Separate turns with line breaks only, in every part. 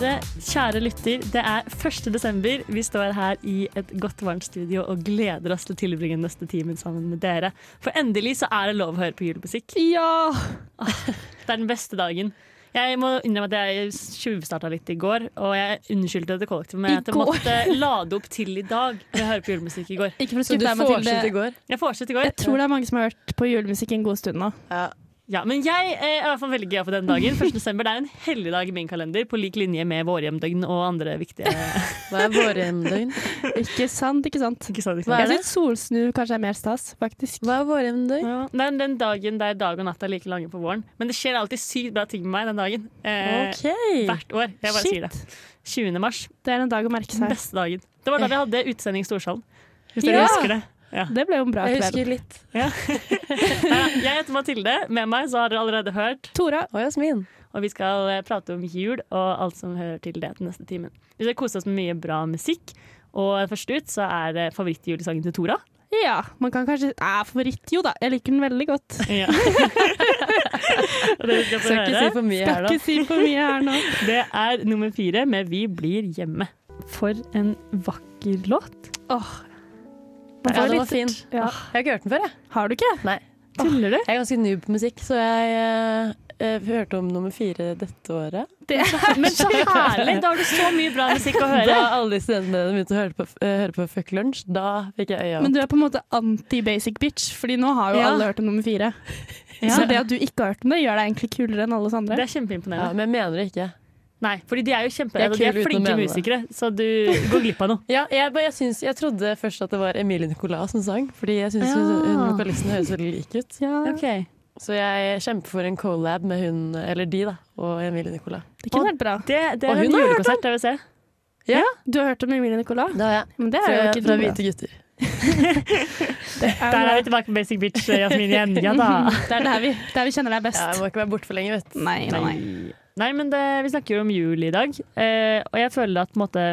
Dere, kjære lytter, det er 1. desember. Vi står her i et godt, varmt studio og gleder oss til å tilbringe den neste timen sammen med dere. For endelig så er det lov å høre på julemusikk.
Ja!
Det er den beste dagen. Jeg må innrømme at jeg tjuvstarta litt i går, og jeg unnskyldte det kollektivet med
I
at jeg
går?
måtte lade opp til i dag med å høre på julemusikk i går.
Ikke for å
Så du
skuffe deg, Mathilde.
foreslo i går?
Jeg fortsatte i går.
Jeg tror det er mange som har hørt på julemusikk en god stund nå.
Ja.
Ja, men jeg eh, er i hvert fall veldig glad for den dagen. 1. desember det er en helligdag i min kalender, på lik linje med vårhjemdøgn og andre viktige
Hva er våre emnedøgn?
Ikke sant, ikke sant?
Ikke sant, ikke sant?
Hva er
Jeg
det?
syns solsnu kanskje er mer stas, faktisk.
Hva er våre emnedøgn?
Ja, det er den dagen der dag og natt er like lange på våren. Men det skjer alltid sykt bra ting med meg den dagen. Eh,
OK.
Hvert år. Jeg bare sier det.
Shit!
20. mars.
Det er en dag å merke
Den
seg.
beste dagen. Det var da vi hadde utesending i Storsalen. Hvis dere
Ja!
husker det.
Det ble jo en bra kveld.
Jeg husker litt.
Ja, jeg heter Mathilde. Med meg så har dere allerede hørt.
Tora,
Å, Jasmin.
Og vi skal eh, prate om jul og alt som hører til det den neste timen. Vi skal kose oss med mye bra musikk. Og først ut så er det favorittjulesangen til Tora.
ja, man kan kanskje Æ, favoritt, jo da, jeg liker den veldig godt.
Ja. og det vi skal få
Skal ikke
høre
si for mye her,
Skal
da.
ikke si for mye her nå.
Det er nummer fire med Vi blir hjemme. For en vakker låt.
Man
Ja,
får
det var
litt-
fin.
Ja.
Jeg har ikke hørt den før, jeg.
Har du ikke?
Nei.
Tuller du?
Jeg er ganske noob på musikk, så jeg eh, eh, hørte om nummer fire dette året.
Det er
Men så herlig! Da har du så mye bra musikk å høre.
Da alle de studentene mine begynte å høre på, eh, høre på Fuck Lunch, da fikk jeg øya
Men
opp.
du er på en måte anti-basic bitch, Fordi nå har jo
Ja.
alle hørt om nummer fire.
Ja.
Så det at du ikke har hørt om det, gjør deg egentlig kulere enn alle oss andre.
Det er
Ja,
kjempeimponerende.
men jeg mener det ikke.
Nei, fordi de er jo kjempe,
Det er
altså, de er
kul uten å
flinke
mene det.
musikere, så du går glipp av noe.
Ja, jeg, bare- jeg, syns, jeg trodde først at det var Emilie Nicolas som sang, fordi jeg syns hun,
Ja.
hun vokalisten høres veldig lik ut.
Ja.
Så jeg kjemper for en collab med hun, eller de, da, og Emilie Nicolas.
Det kunne vært bra.
Det, det
Og
er
hun
en
har hørt
julekonsert jeg vil se.
Du har hørt om Emilie Nicolas?
Det har jeg.
Men det er jo
Fra,
ikke
fra
dumt.
Hvite gutter.
Det
Der er
bra.
vi tilbake på Basic Bitch, Jasmin igjen. Ja da.
Det er der vi, der vi kjenner deg best.
Ja, jeg må ikke være borte for lenge, vet du.
Nei, nei, nei.
Nei, men det, vi snakker jo om jul i dag, eh, og jeg føler at på en måte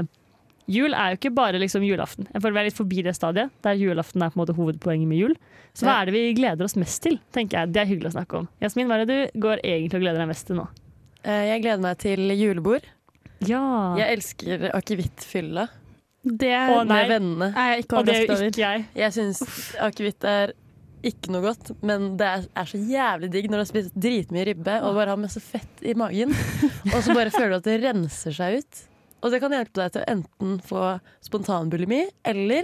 Jul er jo ikke bare liksom julaften. Jeg føler Vi er litt forbi det stadiet der julaften er på en måte hovedpoenget med jul. Så hva
Ja.
er det vi gleder oss mest til? tenker jeg. Det er hyggelig å snakke om. Jasmin, hva er det du går egentlig og gleder deg mest til nå?
Eh, Jeg gleder meg til julebord.
Ja.
Jeg elsker akevittfylla
Det
Eh,
Å, nei.
med vennene.
er jeg ikke
og det er
overrasket
jo
over.
ikke jeg.
Jeg syns akevitt er ikke noe godt, men det er, er så jævlig digg når du har spist dritmye ribbe og bare har masse fett i magen, og så bare føler du at det renser seg ut. Og det kan hjelpe deg til å enten få spontanbulimi eller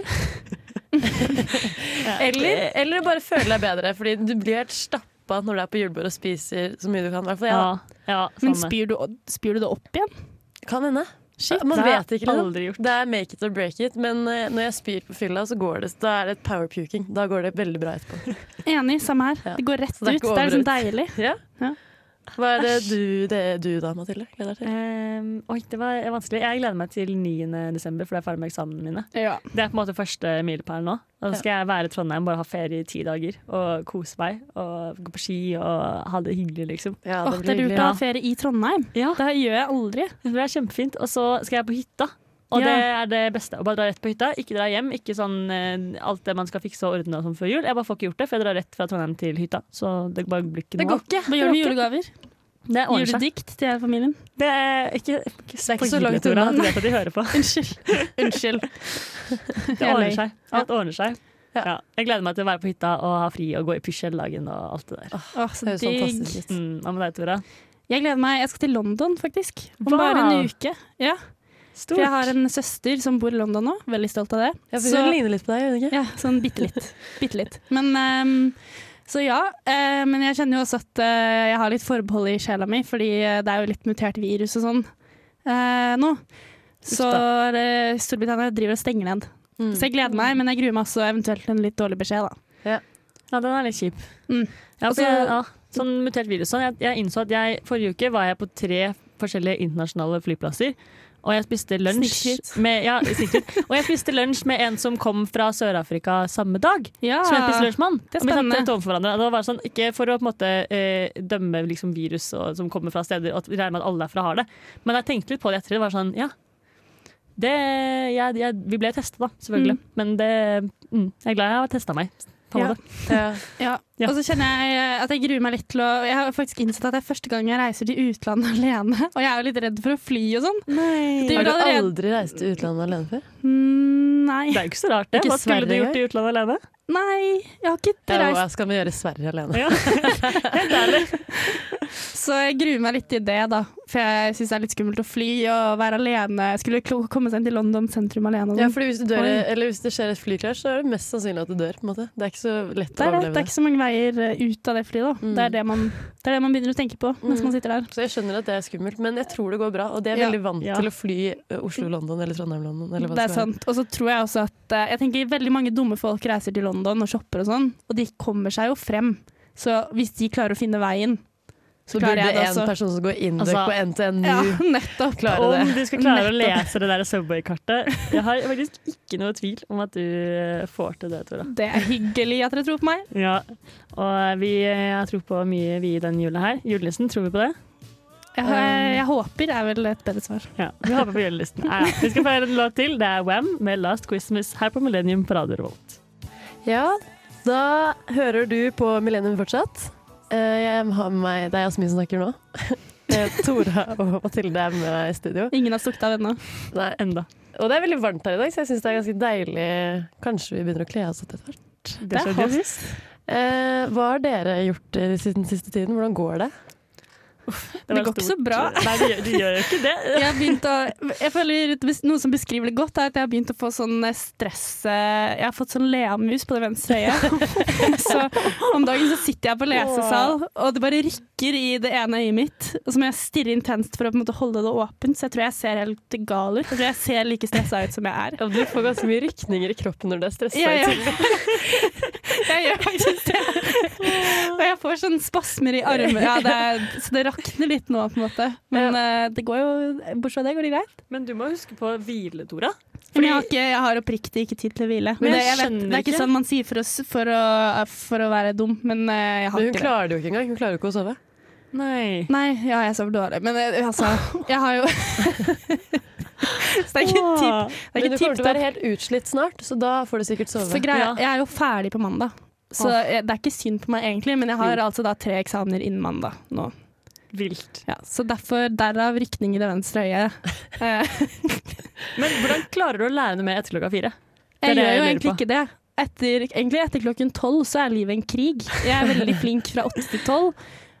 eller, eller bare føle deg bedre, fordi du blir helt stappa når du er på julebord og spiser så mye du kan. I hvert fall
Ja,
jeg.
ja,
Men
samme.
spyr du, spyr du det opp igjen?
da. Kan hende.
Shit,
Man
det har
vet
jeg
ikke. Liksom.
Aldri gjort.
Det er make it or break it, men eh, når jeg spyr på fylla, så går det, da er det power puking. Da går det veldig bra etterpå.
Enig, samme her.
Ja.
Det går rett
Så det er
ut.
ikke
Det er liksom
overut.
deilig.
Ja.
Ja.
Hva er det du, det er du da, Mathilde? Gleder deg til?
Ehm, oi, det var vanskelig. Jeg gleder meg til 9. desember, for da er jeg ferdig med eksamenen mine. Det er på en måte første milepæl nå. Og så skal jeg være i Trondheim, bare ha ferie i ti dager og kose meg. Og gå på ski og ha det hyggelig, liksom.
Ja,
Åh, det er lurt å ha ferie i Trondheim.
Ja.
Det gjør jeg aldri.
Det blir kjempefint. Og så skal jeg på hytta. Og
Ja.
det er det beste. Å bare dra rett på hytta. Ikke dra hjem. Ikke sånn eh, alt det man skal fikse og ordne og sånn før jul. Jeg bare får ikke gjort det, for jeg drar rett fra Trondheim til hytta. Så det bare blir ikke
Det
noe
går
av.
ikke.
Hva gjør du med julegaver?
Det ordner seg.
Juledikt til hele familien?
Det er ikke, ikke,
er ikke så
spoil
langt
det, Tora.
unna.
Du vet at de hører på.
Unnskyld. Unnskyld.
Det
Jeg er
ordner
lei.
seg. Alt ordner seg.
Ja.
Ja. Jeg gleder meg til å være på hytta og ha fri og gå i pysj hele dagen og alt det der.
Åh, så
Det høres
digg.
fantastisk ut.
Mm, Hva med deg, Tora?
Jeg gleder meg. Jeg skal til London, faktisk. Om
Wow.
bare en uke. Ja,
Stort.
for jeg har en søster som bor i London nå. Veldig stolt av det.
Ja, for
Så-
hun ligner litt på deg, gjør hun ikke?
Ja, sånn bitte litt. Bitte litt. Men ehm, så ja, eh, men jeg kjenner jo også at eh, jeg har litt forbehold i sjela mi, fordi eh, det er jo litt mutert virus og sånn eh, nå. Så eh, Storbritannia driver og stenger ned.
Mm.
Så jeg gleder meg, men jeg gruer meg også eventuelt til en litt dårlig beskjed, da.
Ja, den er litt kjip.
Mm.
Ja,
Og
for
så-
jeg, ja, sånn mutert virus. Sånn. Jeg, jeg innså at jeg, forrige uke var jeg på tre forskjellige internasjonale flyplasser. Og jeg spiste lunsj
Snikskryt.
med, ja, snikskryt. og jeg spiste lunsj med en som kom fra Sør-Afrika samme dag.
Ah, Ja,
Som jeg spiste lunsj med han.
Det er
Og vi satt
spennende.
rett overfor hverandre. Og det var bare sånn, ikke for å på en måte eh, dømme liksom, virus og, som kommer fra steder, og at vi regner med at alle derfra har det. Men jeg tenkte litt på det etter. Det var sånn, ja. mm, Det, jeg, jeg, vi ble testa, da, selvfølgelig. Men det, mm, jeg er glad jeg har testa meg. på en
Ja.
måte.
Ja.
Ja.
Ja.
Og så kjenner jeg eh, at jeg gruer meg litt til å Jeg har faktisk innsett at det er første gang jeg reiser til utlandet alene. Og jeg er jo litt redd for å fly og sånn.
Nei.
Det-
Har du
allerede-
aldri reist til utlandet alene før?
Mm, nei.
Det er jo ikke så rart, det.
Ikke
Hva skulle du
Sverige
gjort i utlandet alene?
Nei, jeg har ikke
Ja,
reist.
hva skal vi gjøre i Sverige alene?
Ja. Helt ærlig.
Så jeg gruer meg litt til det, da. For jeg syns det er litt skummelt å fly og være alene. Jeg skulle klo- komme seg inn til London sentrum alene. og
Ja,
sånn.
fordi hvis, du dør,
Oi.
eller hvis det skjer et flykrasj, så er det mest sannsynlig at du dør. på en måte. Det er ikke så lett
det, er, det.
å overleve
det er
det.
ikke så mange veier eh, ut av det flyet, da.
Mm.
Det, er det, man, det er det man begynner å tenke på mens
Mm.
man sitter der.
Så jeg skjønner at det er skummelt, men jeg tror det går bra. Og det er
Ja.
veldig vant
Ja.
til å fly eh, Oslo-London eller Trondheim-London. eller hva
Det er
som
sant. Og så tror jeg også at eh, Jeg tenker veldig mange dumme folk reiser til London og shopper og sånn, og de kommer seg jo frem. Så hvis de klarer å finne veien,
Så
klarer
burde
jeg det
en
også.
person som går indøk
Altså-
på NTNU
ja, nettopp.
klare det.
Om du skal klare å
Nettopp.
lese det der Subway-kartet. Jeg har faktisk ikke noe tvil om at du eh, får til det, Tora.
Det er hyggelig at dere tror på meg.
Ja. Og vi eh, jeg tror på mye vi i den julen her. Julenissen, tror vi på det?
Jeg,
Um.
jeg håper er vel et bedre svar.
Ja, Vi håper på julenissen. Ja, ja. Vi skal få høre en låt til. Det er Wam med 'Last Christmas' her på Millennium på Radio Revolt.
Ja, da hører du på Millennium fortsatt. Eh, Jeg har med meg, det er Jasmin som snakker nå. Eh, Tora og Mathilde er med meg i studio.
Ingen har stukket av ennå.
Nei.
Enda.
Og det er veldig varmt her i dag, så jeg syns det er ganske deilig. Kanskje vi begynner å kle av oss etter hvert.
Det
er
skjedde jo
hot.
sist.
Eh, hva har dere gjort eh, den siste tiden? Hvordan går det?
var
Det går ikke
stort.
så bra.
Nei, det gjør, det gjør jo ikke det.
Jeg har begynt å Jeg føler Noe som beskriver det godt, er at jeg har begynt å få sånn stress eh, Jeg har fått sånn leamus på det venstre øyet. Så om dagen så sitter jeg på lesesal, og det bare rykker i det ene øyet mitt. Og så må jeg stirre intenst for å på en måte holde det åpent, så jeg tror jeg ser helt gal ut. Jeg tror jeg ser like stressa ut som jeg er.
du får ganske mye rykninger i kroppen når du er stressa.
Ja, ja. Jeg gjør faktisk det. Og jeg får sånn spasmer i armen, ja, det er, så det rakner litt nå, på en måte. Men eh, det går jo Bortsett fra det, går det greit.
Men du må huske på å hvile, Tora.
Men jeg har, ikke, jeg har oppriktig ikke tid til å hvile.
Men
det,
jeg
vet,
skjønner
det er ikke
ikke.
sånn man sier for, oss, for, å, for å være dum, men eh, jeg har
Men hun
ikke det.
klarer det jo ikke engang. Hun klarer jo ikke å sove.
Nei.
Nei, ja, jeg sover dårlig, men eh, altså Jeg har jo Så det er ikke tipp det er
Men
ikke
du kommer til å
tipp-topp.
være helt utslitt snart, så da får du sikkert
For
sove.
greia,
Ja.
jeg er jo ferdig på mandag, så
Åh.
eh, det er ikke synd på meg egentlig, men jeg har
Mm.
altså da tre eksamener innen mandag nå.
Vilt.
Ja, så derfor derav rykning i det venstre øyet. Eh,
Men hvordan klarer du å lære noe mer etter klokka fire?
Jeg
Det er det
gjør
jeg
jo
lurer
egentlig
på.
ikke det. Etter, egentlig etter klokken tolv så er livet en krig. Jeg er veldig flink fra åtte til tolv.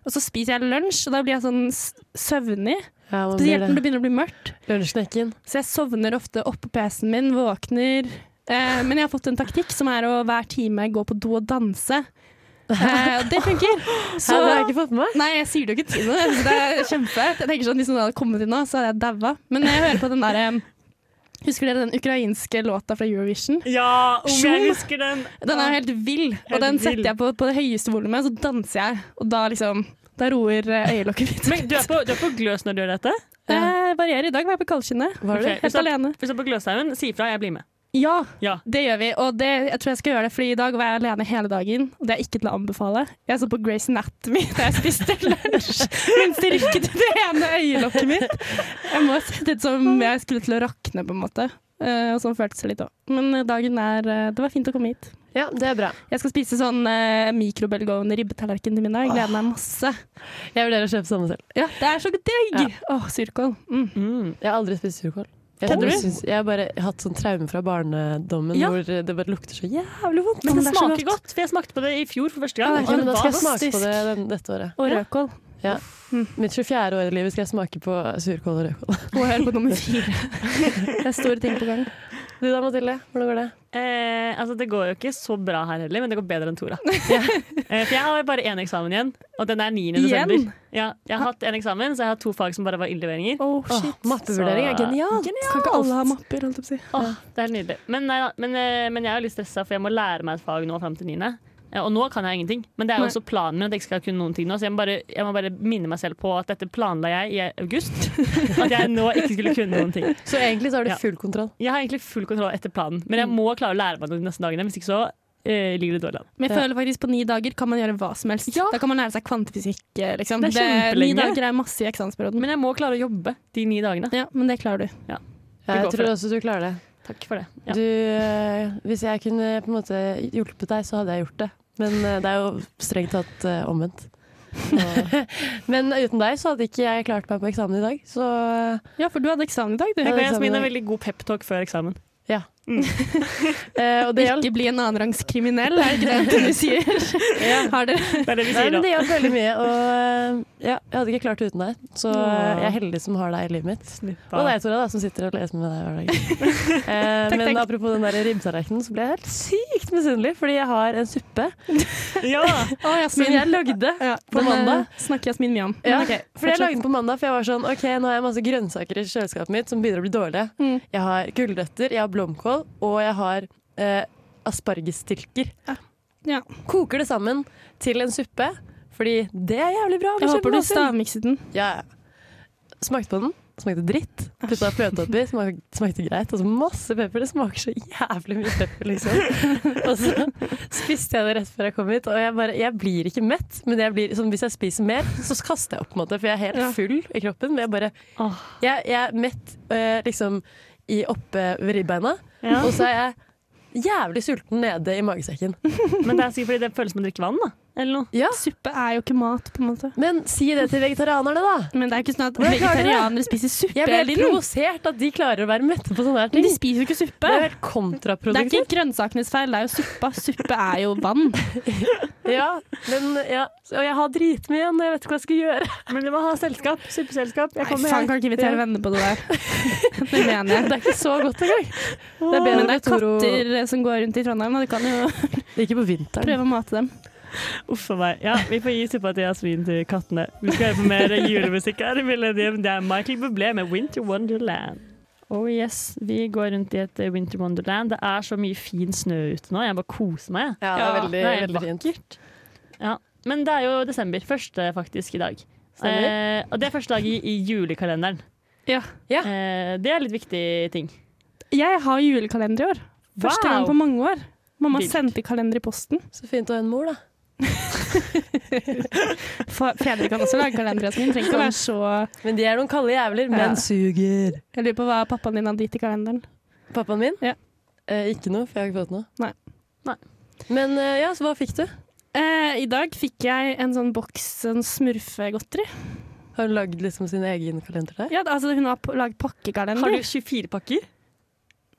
Og så spiser jeg lunsj, og da blir jeg sånn s- søvnig.
Ja, man blir
Spesielt når det
det.
begynner å bli mørkt.
Lunsjknekken.
Så jeg sovner ofte oppå PC-en min, våkner. Eh, men jeg har fått en taktikk som er å hver time gå på do og danse. Eh, og det funker.
Hæ,
Så
det har jeg ikke fått med meg.
Nei, jeg sier det jo ikke til noen. så Det er kjempe. Jeg tenker sånn, Hvis noen hadde kommet inn nå, så hadde jeg daua. Men jeg hører på den derre Husker dere den ukrainske låta fra Eurovision?
Ja,
om jeg
husker den!
Den er jo helt vill, og
Helt
den
vill.
setter jeg på på det høyeste volumet, så danser jeg. Og da liksom Da roer eh, øyelokket mitt.
Men du er, på, du er på gløs når du gjør dette?
Det varierer. I dag var jeg på kaldskinnet.
Var det?
Ok.
Helt
Så-
alene.
Hvis du er på Gløshaugen, si ifra, jeg blir med.
Ja,
Ja.
det gjør vi. Og det, jeg tror jeg skal gjøre det, Fordi i dag var jeg alene hele dagen. Og det er ikke til å anbefale. Jeg så på Grace Anatomy da jeg spiste lunsj mens det rykket i det ene øyelokket mitt. Jeg må se det ut som jeg skulle til å rakne, på en måte. Eh, og sånn føltes det litt òg. Men eh, dagen er eh, Det var fint å komme hit.
Ja, det er bra.
Jeg skal spise sånn eh, mikrobølgeovn ribbetallerken til middag. Jeg gleder meg masse.
Jeg vurderer å kjøpe samme selv.
Ja, det er så digg!
Ja.
Åh, surkål. Mm.
Mm.
Jeg har aldri spist surkål. Jeg,
Hadde du?
synes- jeg har bare hatt sånn traume fra barnedommen
Ja.
hvor det bare lukter så jævlig vondt.
Men
Men
det,
det er så
smaker
godt.
godt. for jeg smakte på det i fjor for første gang.
Ja, det er
og
Ja, men
det
da skal jeg
var-
smake på det den, dette året.
Og rødkål.
Mitt 24. år i livet skal jeg smake på surkål og rødkål.
Og hør på nummer fire. Det er store ting på gang.
Du da, Mathilde? Hvordan går det?
Eh, altså, det går jo ikke så bra her heller, men det går bedre enn Tora. Eh, for jeg har bare én eksamen igjen, og den er 9.
Igjen?
desember. Ja, jeg har hatt én eksamen, så jeg har hatt to fag som bare var innleveringer.
Oh, shit.
Åh, mappevurdering er
Så-
genialt!
Kan ikke alle ha mapper, holdt jeg på å si.
Åh, det er helt nydelig. Men, nei, da, men, eh, men jeg er jo litt stressa, for jeg må lære meg et fag nå fram til niende. Eh, Og nå kan jeg ingenting, men det er jo
Nei.
også planen min. at jeg ikke skal kunne noen ting nå Så jeg må, bare, jeg må bare minne meg selv på at dette planla jeg i august. At jeg nå ikke skulle kunne noen ting.
Så egentlig så har du
Ja.
full kontroll.
Jeg har egentlig full kontroll etter planen, men
Mm.
jeg må klare å lære meg noe de neste dagene. Hvis ikke så eh, ligger det dårlig an.
Men jeg
Ja.
føler faktisk på ni dager kan man gjøre hva som helst.
Ja.
Da kan man lære seg kvantefysikk. eh, Liksom.
Det er kjempelenge.
Ni dager er masse i eksamensperioden.
Men jeg må klare å jobbe de ni dagene.
Ja, men det klarer du.
Ja,
går
jeg
for
tror
det.
også du klarer det.
Takk for det. Ja.
Du, eh, hvis jeg kunne på en måte hjulpet deg, så hadde jeg gjort det. Men eh, det er jo strengt tatt eh, omvendt. Og- Men uten deg så hadde ikke jeg klart meg på eksamen i dag. Så
Ja, for du hadde eksamen i dag, du.
Ja,
Jeg
det
og
er
Jasmin
sant,
har
det.
veldig god peptalk før eksamen.
eh, Og det hjalp.
Ikke bli en annenrangs kriminell, er det ikke det du sier? Har dere?
Det er det vi
Nei,
sier
men
da.
det hjalp veldig mye. Og eh, ja, jeg hadde ikke klart det uten deg. Så eh, jeg er heldig som har deg i livet mitt.
Snuppa.
Og deg, Tora, da, som sitter og leser med deg hver dag. Eh,
Takk,
men
takk.
apropos den der ribbetallerkenen, så ble jeg helt sykt misunnelig, fordi jeg har en suppe
Ja,
Å,
som
Jasmin.
jeg lagde
Ja,
på
den, eh,
mandag.
Snakker Jasmin mye om.
Ja,
Men ok,
fordi jeg
fortsett.
lagde den på mandag, for jeg var sånn OK, nå har jeg masse grønnsaker i kjøleskapet mitt som begynner å bli dårlige.
Mm.
Jeg har gulrøtter, jeg har blomkål, og jeg har eh, aspargesstilker.
Ja.
Koker det sammen til en suppe, fordi det er jævlig bra.
Jeg håper du
kjempemisunnelig.
stavmikset den.
Ja, ja. Smakte på den. Smakte dritt. Putta fløte oppi. Smak, smakte greit. Og så masse pepper. Det smaker så jævlig mye pepper, liksom. Og så spiste jeg det rett før jeg kom hit. Og jeg, bare, jeg blir ikke mett, men jeg blir, sånn, hvis jeg spiser mer, så kaster jeg opp, på en måte. For jeg er
Ja.
helt full i kroppen. Men jeg bare
Åh,
Jeg, jeg er mett eh, liksom i oppe ved ribbeina,
ja.
og så er jeg jævlig sulten nede i magesekken.
Men det er sikkert fordi det føles som å drikke vann, da. Eller noe.
Ja,
Suppe er jo ikke mat, på en måte.
Men si det til vegetarianerne, da.
Men det er jo ikke sånn at
Hvordan klarer du det?
vegetarianere spiser suppe
Jeg
hele
blir helt
tiden.
provosert at de klarer å være mette på sånne her
Men
ting.
de spiser jo ikke
Det
suppe.
er jo
Det
helt
er ikke
kontraproduktivt.
grønnsakenes feil, det er jo suppa. Suppe er jo vann.
Ja, men, ja. Og jeg har dritmye igjen, og jeg vet ikke hva jeg skal gjøre.
Men vi må ha selskap. Suppeselskap. Jeg
Nei,
kommer,
faen,
jeg.
kan ikke invitere venner på det der. Det mener jeg.
Det er ikke så godt engang.
Det er bedre
Men
det er katter som går rundt i Trondheim, og du kan jo
Ikke på vinteren.
prøve å mate dem.
Uff a meg. Ja, vi får gi suppa til Jasmin til kattene. Vi skal høre på mer julemusikk her i Millennium. Det er Michael Bublé med Winter Wonderland. Oh yes, vi går rundt i et eh, Winter Wonderland. Det er så mye fin snø ute nå. Jeg bare koser meg. jeg.
Ja, det er
Ja,
veldig,
det er
veldig fint.
Men det er jo desember. Første faktisk i dag.
Stemmer.
Eh, og det er første dag i, i julekalenderen.
Ja.
Ja.
Eh, det er litt viktig ting.
Jeg har julekalender i år. Første gang på mange år. Mamma
Vilt.
sendte kalender i posten.
Så fint å ha en mor, da.
Fa- Fedre kan også lage kalendere som trenger ikke å være så
Men de er noen kalde jævler, men
Ja.
suger.
Jeg lurer på hva pappaen din hadde gitt i kalenderen.
Pappaen min?
Ja.
Eh, ikke noe, for jeg har ikke fått noe.
Nei.
Nei.
Men eh, ja, så hva fikk du?
Eh, I dag fikk jeg en sånn boks sånn smurfegodteri.
Har hun lagd liksom sin egen kalender der?
Ja, altså hun har p- lagd pakkekalender.
Har du 24 pakker?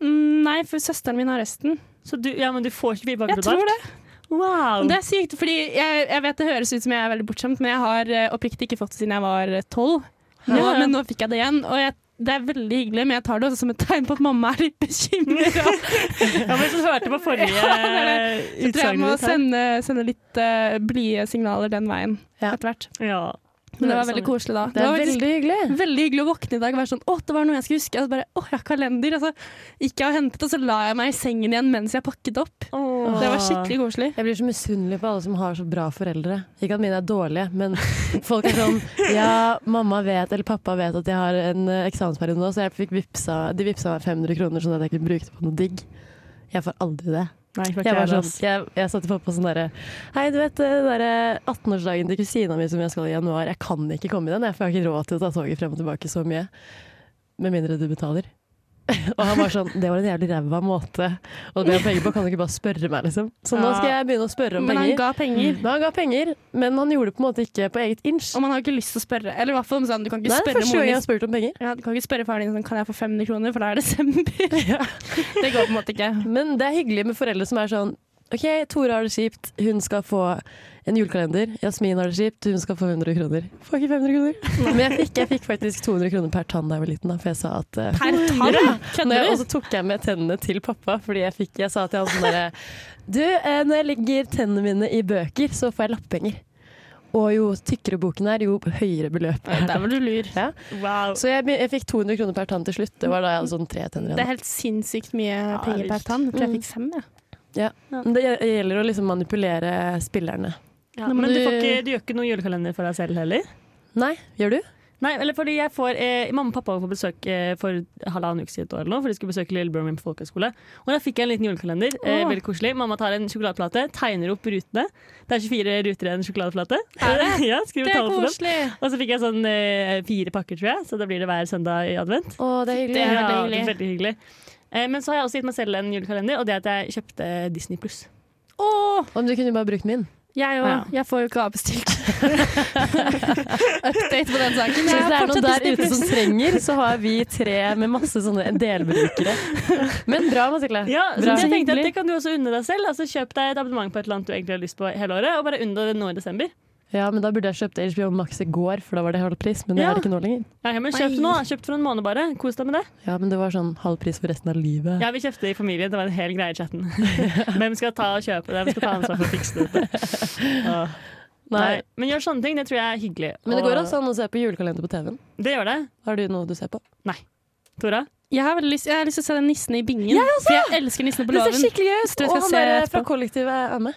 Mm, Nei, for søsteren min har resten.
Så du, ja, men du får 24 pakker
Jeg tror det.
Wow.
Det er sykt, fordi jeg, jeg vet det høres ut som jeg er veldig bortskjemt, men jeg har eh, oppriktig ikke fått det siden jeg var eh, tolv.
Ja, ja.
Men nå fikk jeg det igjen. Og jeg, det er veldig hyggelig, men jeg tar det også som et tegn på at mamma er litt bekymra.
Ja, men så hørte på forrige
Ja, Så tror jeg jeg
utsagnet
må
ditt her.
sende, sende litt eh, blide signaler den veien
Ja.
etter hvert.
Ja.
Men det var
Høres
veldig
sånn ut.
koselig da.
Det er
var faktisk
veldig hyggelig.
Veldig hyggelig å våkne i dag og være sånn Å, det var noe jeg skulle huske. Og så bare Å, jeg har kalender. Og så gikk jeg og hentet, og så la jeg meg i sengen igjen mens jeg pakket opp.
Åh.
Det var skikkelig koselig.
Jeg blir så misunnelig på alle som har så bra foreldre. Ikke at mine er dårlige, men folk er sånn Ja, mamma vet, eller pappa vet at jeg har en eh, eksamensperiode nå, så jeg fikk vipsa, de vipsa meg 500 kroner sånn at jeg kunne bruke det på noe digg. Jeg får aldri det.
Nei, ikke
Jeg, var
det,
sånn,
altså.
ass.
jeg, jeg sa til pappa sånn derre Hei, du vet eh, den derre 18-årsdagen til kusina mi som jeg skal i januar. Jeg kan ikke komme i den, jeg, for jeg har ikke råd til å ta toget frem og tilbake så mye. Med mindre du betaler. og han var sånn Det var en jævlig ræva måte å be om penger på. Kan du ikke bare spørre meg, liksom? Så nå
Ja.
skal jeg begynne å spørre om
Men han
penger.
ga penger. Mm.
Men han ga penger, men han gjorde det på en måte ikke på eget inch.
Og man har ikke lyst til å spørre. Eller i hvert fall om sånn, du kan
Det
ikke
er
spørre
første gang
moren
jeg har
din.
spurt om penger.
Ja, du kan ikke spørre faren din sånn Kan jeg få 500 kroner, for da er det desember. Det går på en måte ikke.
Men det er hyggelig med foreldre som er sånn OK, Tore har det kjipt, hun skal få en julekalender. Jasmin har det kjipt, hun skal få 100 kroner. Får ikke 500 kroner. Men jeg fikk, jeg fikk faktisk 200 kroner per tann da jeg var liten, da, for jeg sa at eh,
Per tann?
når jeg,
Kødder
Og
du?
så tok jeg med tennene til pappa, fordi jeg, fikk, jeg sa til han sånn derre Du, eh, når jeg legger tennene mine i bøker, så får jeg lappenger. Og jo tykkere boken er, jo høyere beløp.
Ja, Der var du lur.
Ja.
Wow.
Så jeg, be- jeg fikk 200 kroner per tann til slutt. Det var da jeg hadde sånn tre
Det
tenner
er
igjen.
helt sinnssykt mye penger per
vilt.
tann. Jeg tror jeg
Mm.
fikk fem, jeg.
Men Det gjel- gjelder å liksom manipulere spillerne.
Ja,
Nå må
men du,
du-
får ikke, du gjør ikke noen julekalender for deg selv heller?
Nei, gjør du?
Nei, eller fordi jeg får eh, Mamma og pappa var på besøk eh, for halvannen uke siden et år eller noe, for de skulle besøke lillebroren min på folkehøyskole. Og da fikk jeg en liten julekalender. Eh,
Åh.
veldig koselig. Mamma tar en sjokoladeplate, tegner opp rutene. Det er 24 ruter i en sjokoladeplate.
Er
ja, skriver
Det er
tall på dem.
koselig.
Og så fikk jeg sånn eh, fire pakker, tror jeg, så da blir det hver søndag i advent.
Å, det er hyggelig.
Det er
ja,
veldig hyggelig.
veldig hyggelig. Eh, Men så har jeg også gitt meg selv en julekalender, og det er at jeg kjøpte Disney pluss.
Åh,
Om du kunne bare brukt min.
jeg òg.
Ja.
Jeg får jo ikke avbestilt. Update på den saken.
Så
Jeg
hvis det
har
er noen
fortsatt
der
Disney+.
ute som trenger, så har vi tre med masse sånne delbrukere. Men bra, Mathilde.
Ja, så
Bra.
det tenkte jeg at
Hyggelig.
det kan du også unne deg selv. Altså Kjøp deg et abonnement på et eller annet du egentlig har lyst på hele året, og bare unn deg det nå i desember.
Ja, men da burde jeg kjøpt HBO Max i går, for da var det halv pris. Men det
Ja.
er det ikke nå lenger.
Ja, ja, men kjøp det nå, da. kjøp for en måned bare. Kos deg med det.
Ja, men det var sånn halv pris for resten av livet.
Ja, vi kjøpte i familien. Det var en hel greie i chatten. Hvem skal ta og kjøpe det? Hvem skal ta ansvar for å fikse dette? Åh. Nei.
Nei.
Men gjør sånne ting. Det tror jeg er hyggelig.
Men det
Og-
går altså an å se på julekalender på TV-en.
Det gjør det.
Har du noe du ser på?
Tora?
Jeg har veldig lyst, jeg har lyst til å se den nissen i bingen. for jeg elsker nissene på låven.
skikkelig
Så jeg
Og
skal
han
se
der fra
etterpå.
kollektivet er med.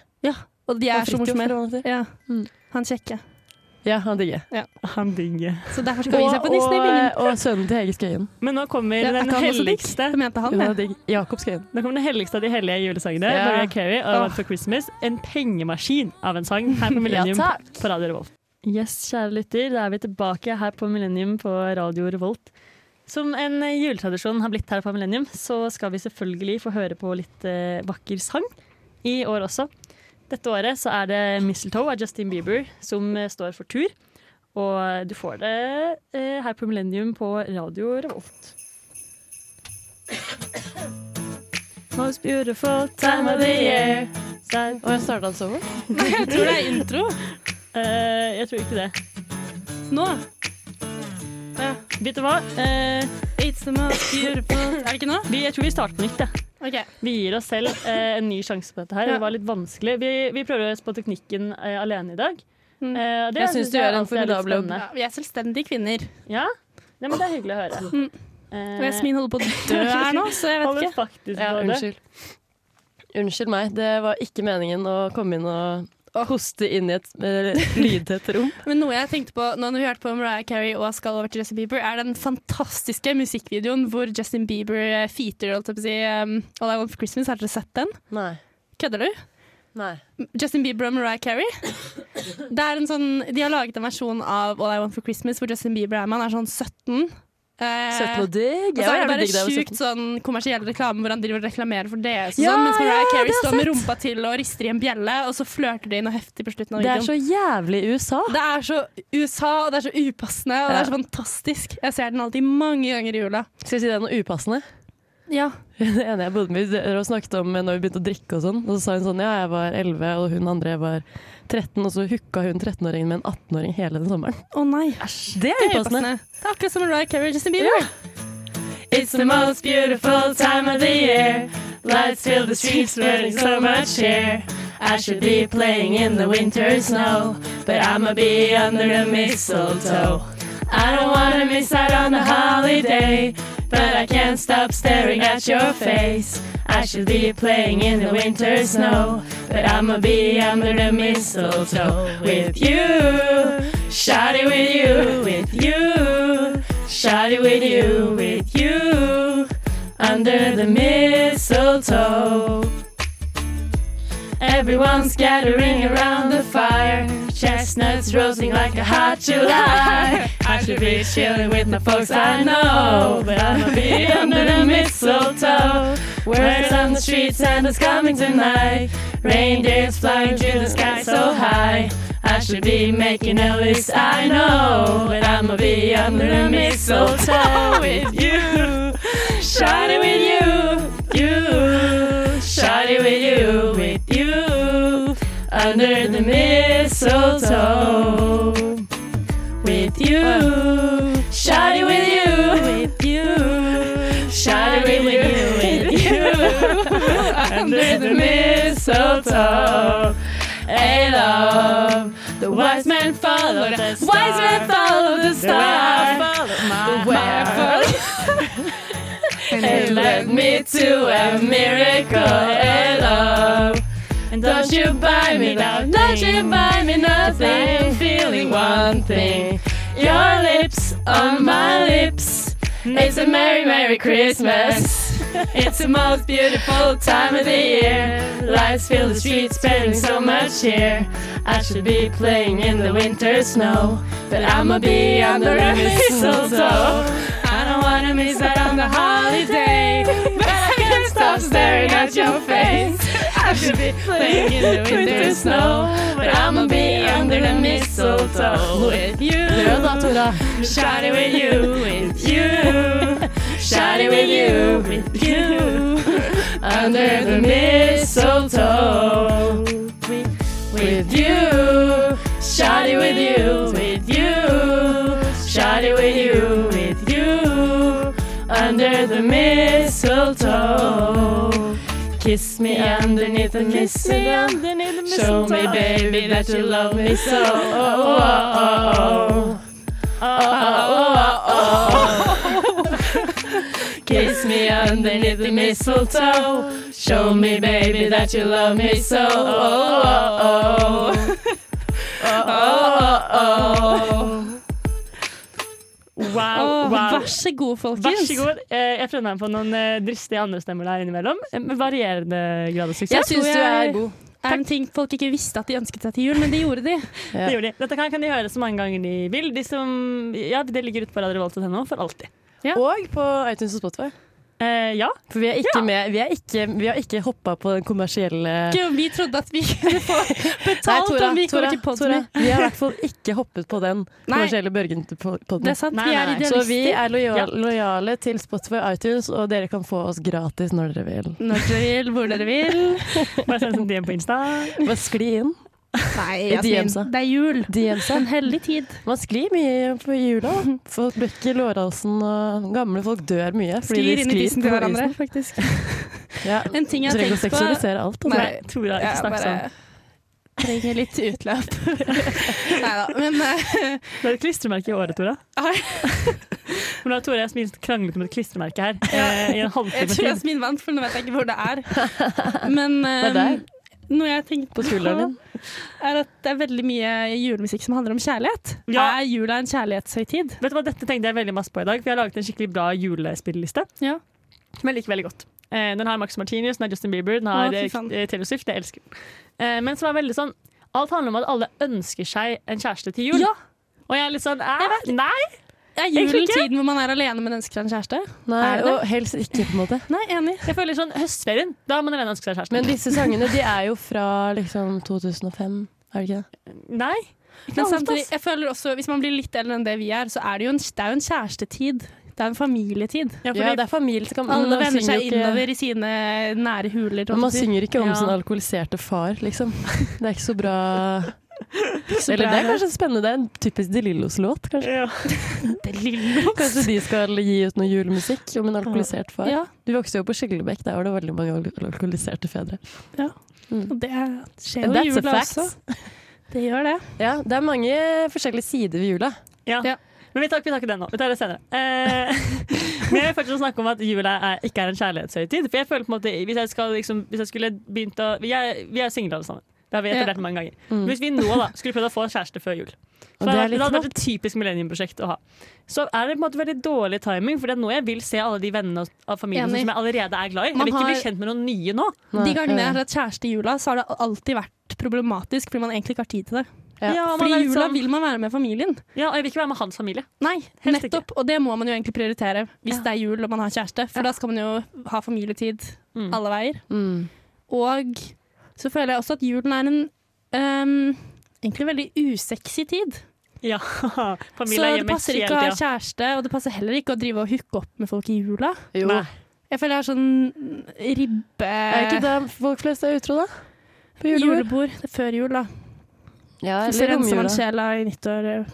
Og de
Han
er så
Fridtjof,
morsomme.
eller hva han heter.
Ja.
Mm.
Han kjekke.
Ja, han digger.
Han digger.
Så derfor skal vi se
Og,
på nissen i
og,
bingen.
og sønnen til Hege Skøyen.
Men nå kommer
Ja, er
den
ikke han også digg?
helligste.
Hvem heter han?
Jo,
det?
han er digg. Jakob Skøyen.
Nå kommer den helligste av de hellige julesangene.
Ja.
Mariah Carey og
Åh.
One for Christmas. En pengemaskin av en sang her på Millennium
Ja, takk.
på Radio Revolt. Yes, kjære lytter, da er vi tilbake her på Millennium på Radio Revolt. Som en eh, juletradisjon har blitt her på Millennium, så skal vi selvfølgelig få høre på litt eh, vakker sang i år også. Dette året så er det Mistletoe av Justin Bieber som eh, står for tur. Og du får det eh, her på Millennium på Radio Revolt. Most beautiful time of the year. Sad-
Og jeg altså starta den sommer.
Jeg tror det er intro.
Eh, jeg tror ikke det.
Nå.
Vet du hva? Eh,
It's the most beautiful Er det ikke nå?
vi, jeg tror vi starter på nytt. jeg.
OK.
Vi gir oss selv eh, en ny sjanse på dette. her.
Ja.
Det var litt vanskelig. Vi, vi prøver oss på teknikken eh, alene i dag.
Mm.
Eh, og det
Jeg synes
synes
du gjør en
alltid er litt
formidabel jobb.
spennende.
Ja, vi er selvstendige kvinner.
Ja? Nei, men det er hyggelig å høre.
Mm.
Eh,
Yasmin holder på å dø her nå, så jeg vet
holder
ikke.
faktisk
Ja,
på det.
unnskyld. Unnskyld meg, det var ikke meningen å komme inn og hoste inn i et eh, lydtett rom.
Men noe jeg tenkte på nå når vi hørte på Mariah Carey og skal over til Justin Bieber, er den fantastiske musikkvideoen hvor Justin Bieber eh, feater holdt jeg på å si, um, All I Want for Christmas. Har dere sett den?
Nei.
Kødder du?
Nei.
Justin Bieber og Mariah Carey. Det er en sånn, de har laget en versjon av All I Want for Christmas hvor Justin Bieber er med. Han er sånn 17. Eh,
Søtt og digg.
Og
Jeg
så er
var
det
jævlig digg da
bare
jeg var
sjukt
17.
sånn kommersiell reklame hvor han driver og reklamerer for DS og
Ja,
sånn, mens Mariah
ja, ja,
Carey
det har
står med
jeg
rumpa til og rister i en bjelle, og så flørter de inn og heftig på slutten av
Det er
videoen.
så jævlig USA.
Det er så USA, og det er så upassende, og det er så fantastisk. Jeg ser den alltid mange ganger i jula.
Skal jeg si det er noe upassende?
Ja.
Det ene jeg bodde med, dere snakket om når vi begynte å drikke og sånn, og så sa hun sånn ja, jeg var 11, og hun andre var 13, og så hooka hun 13-åringen med en 18-åring hele den sommeren.
Å nei. Det
Det er
er
upassende.
upassende. Det er akkurat som Mariah Carey og Justin Bieber.
It's the most beautiful time of the year.
Lights fill the streets, burning so much cheer.
I should be playing in the winter snow, but I'ma be under the mistletoe. I don't wanna miss out on the holiday, but I can't stop staring at your face. I should be playing in the winter snow, but I'ma be under the mistletoe with you. Shoddy with you, with you. Shoddy with you, with you. Under the mistletoe. Everyone's gathering around the fire. Chestnuts roasting like a hot July. I should be chilling with my folks I know, but I'ma be under the mistletoe. Words on the street, Santa's coming tonight. Reindeers flying through the sky so high. I should be making a list, I know, but I'ma be under the mistletoe with you. Shiny with you, you. Shiny with you, with you. Under the mistletoe with you. Shiny with you, with you. Shiny with you, with you. Under the mistletoe. Hey, love. The wise men follow the Wise men follow the star. Wherever. It led me to a miracle, hey, love. And don't you buy me down, don't you buy me nothing. I'm feeling one thing your lips on my lips. It's a merry, merry Christmas. It's the most beautiful time of the year. Lights fill the streets, spreading so much cheer. I should be playing in the winter snow, but I'ma be under the mistletoe. I don't wanna miss out on the holiday, but
I'm staring at your face. I should be playing in the winter snow, but I'ma be under the mistletoe with you.
Prøv da, Tora.
Shawty with you, with you. Shawty with you, with you. Under the mistletoe with you. Shawty with you, with you. Shawty with you, with you. Under the mistletoe. Kiss me underneath the mistletoe. Show me, baby, that you love me so. Oh, oh, oh. Oh, oh, oh, oh, oh. Kiss me underneath the mistletoe. Show me, baby, that you love me so. Oh, oh, oh. Oh, oh, oh.
Wow,
Åh,
wow.
Vær så god,
Vær
folkens.
så god. Eh, Jeg prøvde meg på noen eh, dristige andre stemmer der innimellom. eh, Med varierende grad av
Jeg
suksess.
tror
syns du
jeg-
er
Er
god.
det en ting folk ikke visste at de ønsket seg til jul, men det gjorde de?
Det gjorde de. Dette kan, kan de høre så mange ganger de vil. De som, ja, det ligger ute på radiorevolt.no for alltid.
Og på iTunes og Spotify.
Eh, ja.
For vi er ikke med Vi, er ikke, vi har ikke hoppa på den kommersielle
Gud, vi trodde at vi kunne få
Nei,
betalt om vi kommer til Podme.
Tora, vi har i hvert fall ikke hoppet på den kommersielle bølgen til pod-
Det
podden.
er sant,
Nei,
vi
nei,
er
nei.
idealister.
Så vi er
Ja.
lojale, lojale til Spotify og iTunes, og dere kan få oss gratis når dere vil.
Når dere vil, hvor dere vil.
Bare send en DM på Insta.
Bare skli inn.
Nei,
I DMs-a.
Jasmin, det er jul.
DM-seg.
En hellig tid.
Man sklir mye på jula. Folk brekker lårhalsen, og gamle folk dør mye fordi
Sklir
de
inn i
sklir
tissen til
på
hverandre,
isen.
faktisk.
Ja.
En ting jeg
Trenger
har
å
tenkt på
seksualisere alt. altså.
Nei.
Tora, ikke
Jeg
snakk
bare
sånn.
trenger litt utløp. Nei da, men eh,
Det er et klistremerke i året, Tora.
Ai.
Men da har Tora og Jasmin kranglet om et klistremerke her eh, i en
jeg
halvtime
tror
tid.
Jasmin vant, for nå vet jeg ikke hvor det er. Men
Det er
eh,
deg,
noe jeg tenkte
på skulderen din.
er at det er veldig mye julemusikk som handler om kjærlighet.
Ja.
Er jula en kjærlighetshøytid?
Vet du hva, Dette tenkte jeg veldig masse på i dag, for jeg har laget en skikkelig bra julespilleliste.
Ja.
Som jeg liker veldig godt. Eh, den har Max Martinius, den har Justin Bieber, den har
Å, fy
eh,
faen.
Taylor Swift. Det elsker jeg. Eh, men som er veldig sånn Alt handler om at alle ønsker seg en kjæreste til jul.
Ja.
Og jeg er litt sånn eh, Nei!
Er
Egentlig
julen
ikke.
tiden hvor man er alene, men ønsker seg en kjæreste?
Nei,
Er det det?
og helst ikke, på en måte.
Nei, enig.
Jeg føler sånn høstferien. Da har man alene ønsket seg kjæreste.
Men disse sangene de er jo fra liksom 2005, er det ikke det?
nei.
Men
Ikke
samtidig,
alt, ass.
jeg føler også, hvis man blir litt eldre enn det vi er, så er det jo en, det er jo en kjærestetid. Det er en familietid.
Ja, fordi,
Ja, det er familie. så kan- Mm, men
Alle
man
vender
synger
seg
jo ikke-
innover i sine nære huler.
Men man synger ikke
Ja.
om sin alkoholiserte far, liksom. Det er ikke så bra Eller det er
bra.
kanskje spennende. Det er en typisk De Lillos-låt, kanskje.
ja.
det lille.
Kanskje de skal gi ut noe julemusikk om en alkoholisert far.
Ja,
Du vokste jo opp på Skiglebekk, der var det veldig mange al- alkoholiserte fedre.
og det skjer jo i
And that's a
jula
fact.
også. Det gjør det.
Ja, det er mange forskjellige sider ved jula.
Ja.
Ja.
Men vi tar, vi tar ikke den nå. Vi tar det senere. Eh, men jeg vil fortsatt snakke om at jula er, ikke er en kjærlighetshøytid. For jeg føler på en måte Hvis jeg, skal, liksom, hvis jeg skulle begynt å Vi er, vi er single alle sammen. Det har vi etablert mange ganger.
Mm.
Men Hvis vi nå da skulle prøvd å få kjæreste før jul
Og
så
det
det,
er
det
litt
hadde vært et typisk millenniumprosjekt å ha. Så er det på en måte veldig dårlig timing, for det er nå jeg vil se alle de vennene av familien
Enig.
som jeg allerede er glad i. Jeg
Man
vil ikke bli
har-
kjent med noen nye nå.
Nei,
De gangene jeg
ja.
har hatt kjæreste i jula, så har det alltid vært problematisk, fordi man egentlig ikke har tid til det.
Ja.
man
Fordi
er
i
litt
jula
sånn-
vil man være med familien.
ja, og jeg vil ikke være med hans familie.
Nei,
Helst
nettopp. Og det må man jo egentlig prioritere hvis
Ja.
det er jul og man har kjæreste. For da skal man jo ha familietid
Mm.
alle veier.
Mm.
Og så føler jeg også at julen er en ehm, egentlig veldig usexy tid.
Ja,
Så
Familie er
det
hjemme
passer
hele
ikke å ha
tida.
kjæreste, og det passer heller ikke å drive og hooke opp med folk i jula.
Jo.
Nei.
Jeg føler jeg har sånn ribbe...
Er ikke da folk flest er utro, da? På julebord?
Julebord det er før jul, da.
Ja,
Så
eller
renser man
romjula.
sjela i nyttår. eh,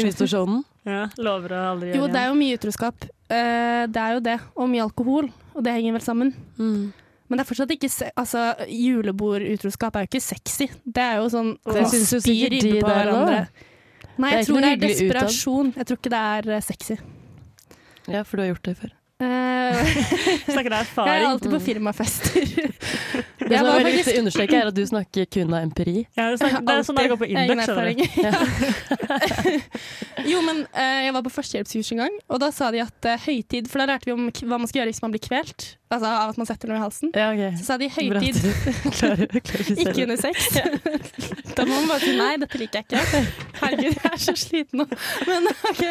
I nyttårsånden.
Ja, lover å aldri
Jo,
gjøre
det er jo mye utroskap. Eh, det er jo det. Og mye alkohol. Og det henger vel sammen.
Mm.
Men det er fortsatt ikke se altså, Julebordutroskap er jo ikke sexy. Det er jo sånn
Det
man
synes jo
spyr
sikkert
ribbe
de
på
der
hverandre. Nei,
Det er
jeg
ikke
tror det
noe
er
hyggelig utad.
desperasjon. Jeg tror ikke det er eh, sexy.
Ja, for du har gjort det før.
Eh,
Snakker av
jeg er
erfaring.
alltid på firmafester.
Det
Jeg
som
var
er veldig
faktisk-
viktig å understreke, er at du snakker kun av empiri.
Ja, det, snakker, det er sånn det går på
Egen
Indux. skjønner du.
erfaring. Ja. jo, men eh, jeg var på førstehjelpskurs en gang, og da sa de at eh, høytid For da lærte vi om k- hva man skal gjøre hvis man blir kvelt. Altså av at man setter noe i halsen.
Ja, ok.
Så sa de
Bra at
høytid,
du klarer, klarer selv.
ikke under sex. da må man bare si nei, dette liker jeg ikke. Herregud, jeg er så sliten nå. Men OK.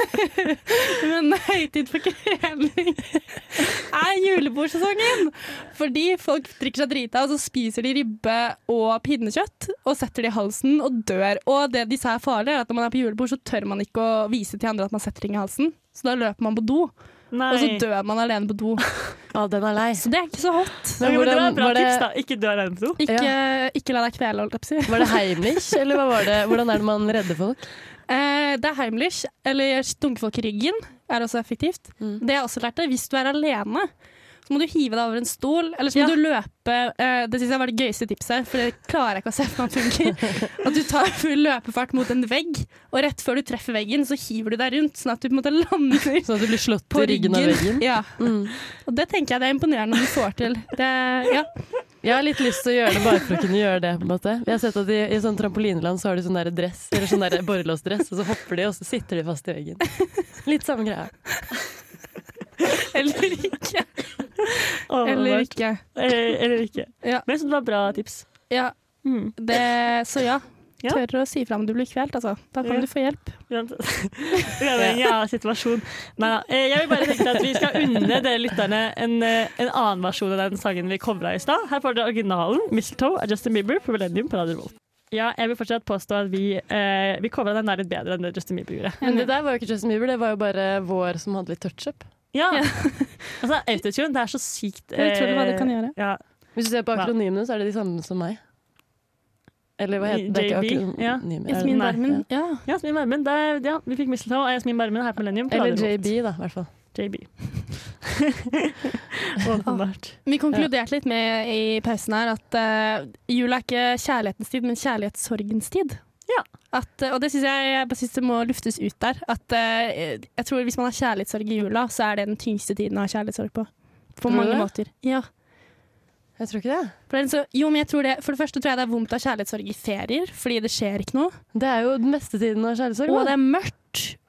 Men høytid for kremling er julebordsesongen! Fordi folk drikker seg drita, og så spiser de ribbe og pinnekjøtt. Og setter det i halsen og dør. Og det de sa er farlig, er at når man er på julebord, så tør man ikke å vise til andre at man setter ting i halsen. Så da løper man på do,
Nei.
og så dør man alene på do.
Å, den er lei.
Så det er ikke så hot.
Ok, men det var
Hvordan-
et bra
var det-
tips, da. Ikke dø alene på do.
Ikke, ikke la deg kvele, holdt jeg på å si.
Var det Heimlich, eller hva var det? hvordan er det man redder folk?
Eh, det er Heimlich, eller dunke folk i ryggen, er også effektivt.
Mm.
Det jeg også lærte, hvis du er alene, så må du hive deg over en stol, eller så
Ja.
må du løpe. eh, det synes jeg var det gøyeste tipset, for det klarer jeg ikke å se for meg funker. At du tar full løpefart mot en vegg, og rett før du treffer veggen, så hiver du deg rundt, sånn at du på en måte lander
Sånn at du blir slått
på
i ryggen av veggen?
Ja,
Mm.
og det tenker jeg det er imponerende om du får til. Det, ja.
Jeg har litt lyst til å gjøre det bare for å kunne gjøre det. på en måte. Jeg har sett at I, i sånn trampolineland så har de sånn der dress, eller sånn der borrelåsdress, og så hopper de, og så sitter de fast i veggen. Litt samme greia.
Eller ikke.
Å,
Eller
vent.
ikke.
Eller, eller ikke.
Ja.
Men jeg synes det var bra tips.
Ja,
Mm.
det, så ja.
Ja.
Tør å si fra om du blir kvelt, altså. Da kan
Ja.
du få hjelp.
Uansett. Uavhengig av situasjon. Nei da. Eh, Jeg vil bare tenke at vi skal unne dere lytterne en, eh, en annen versjon av den sangen vi covra i stad. Her får dere originalen, 'Mistletoe' av Justin Bieber på Millennium på Radio Revolt. Ja, jeg vil fortsatt påstå at vi, eh, vi covra den der litt bedre enn det Justin Bieber gjorde.
Men det der var jo ikke Justin Bieber, det var jo bare vår som hadde litt touch-up.
Ja. altså, autotune, det er så sykt
Det er utrolig hva det
eh,
kan gjøre.
Ja.
Hvis du ser på
Hva?
akronymene, så er det de samme som meg. Eller hva heter det? Det er
JB,
ikke
ja.
akronymer. er det?
Jasmin
Nei.
Barmen. Ja.
ja, Jasmin Barmen. Det er- Ja, vi fikk Mistletoe av Jasmin Barmen her på Millennium. På
Eller
Radio Revolt.
JB, da, i hvert fall.
JB. Åpenbart.
Vi konkluderte litt med i pausen her at eh, jula er ikke kjærlighetens tid, men kjærlighetssorgens tid.
Ja.
At, eh, og det syns jeg, jeg bare synes det må luftes ut der. At eh, jeg tror Hvis man har kjærlighetssorg i jula, så er det den tyngste tiden å ha kjærlighetssorg på. På
Tror du
mange
det?
måter. Ja.
Jeg tror ikke det.
For, det er så, jo, men jeg tror det, for det første tror jeg det er vondt å ha kjærlighetssorg i ferier, fordi det skjer ikke noe.
Det er jo den meste tiden av kjærlighetssorg.
Og
da.
det er mørkt.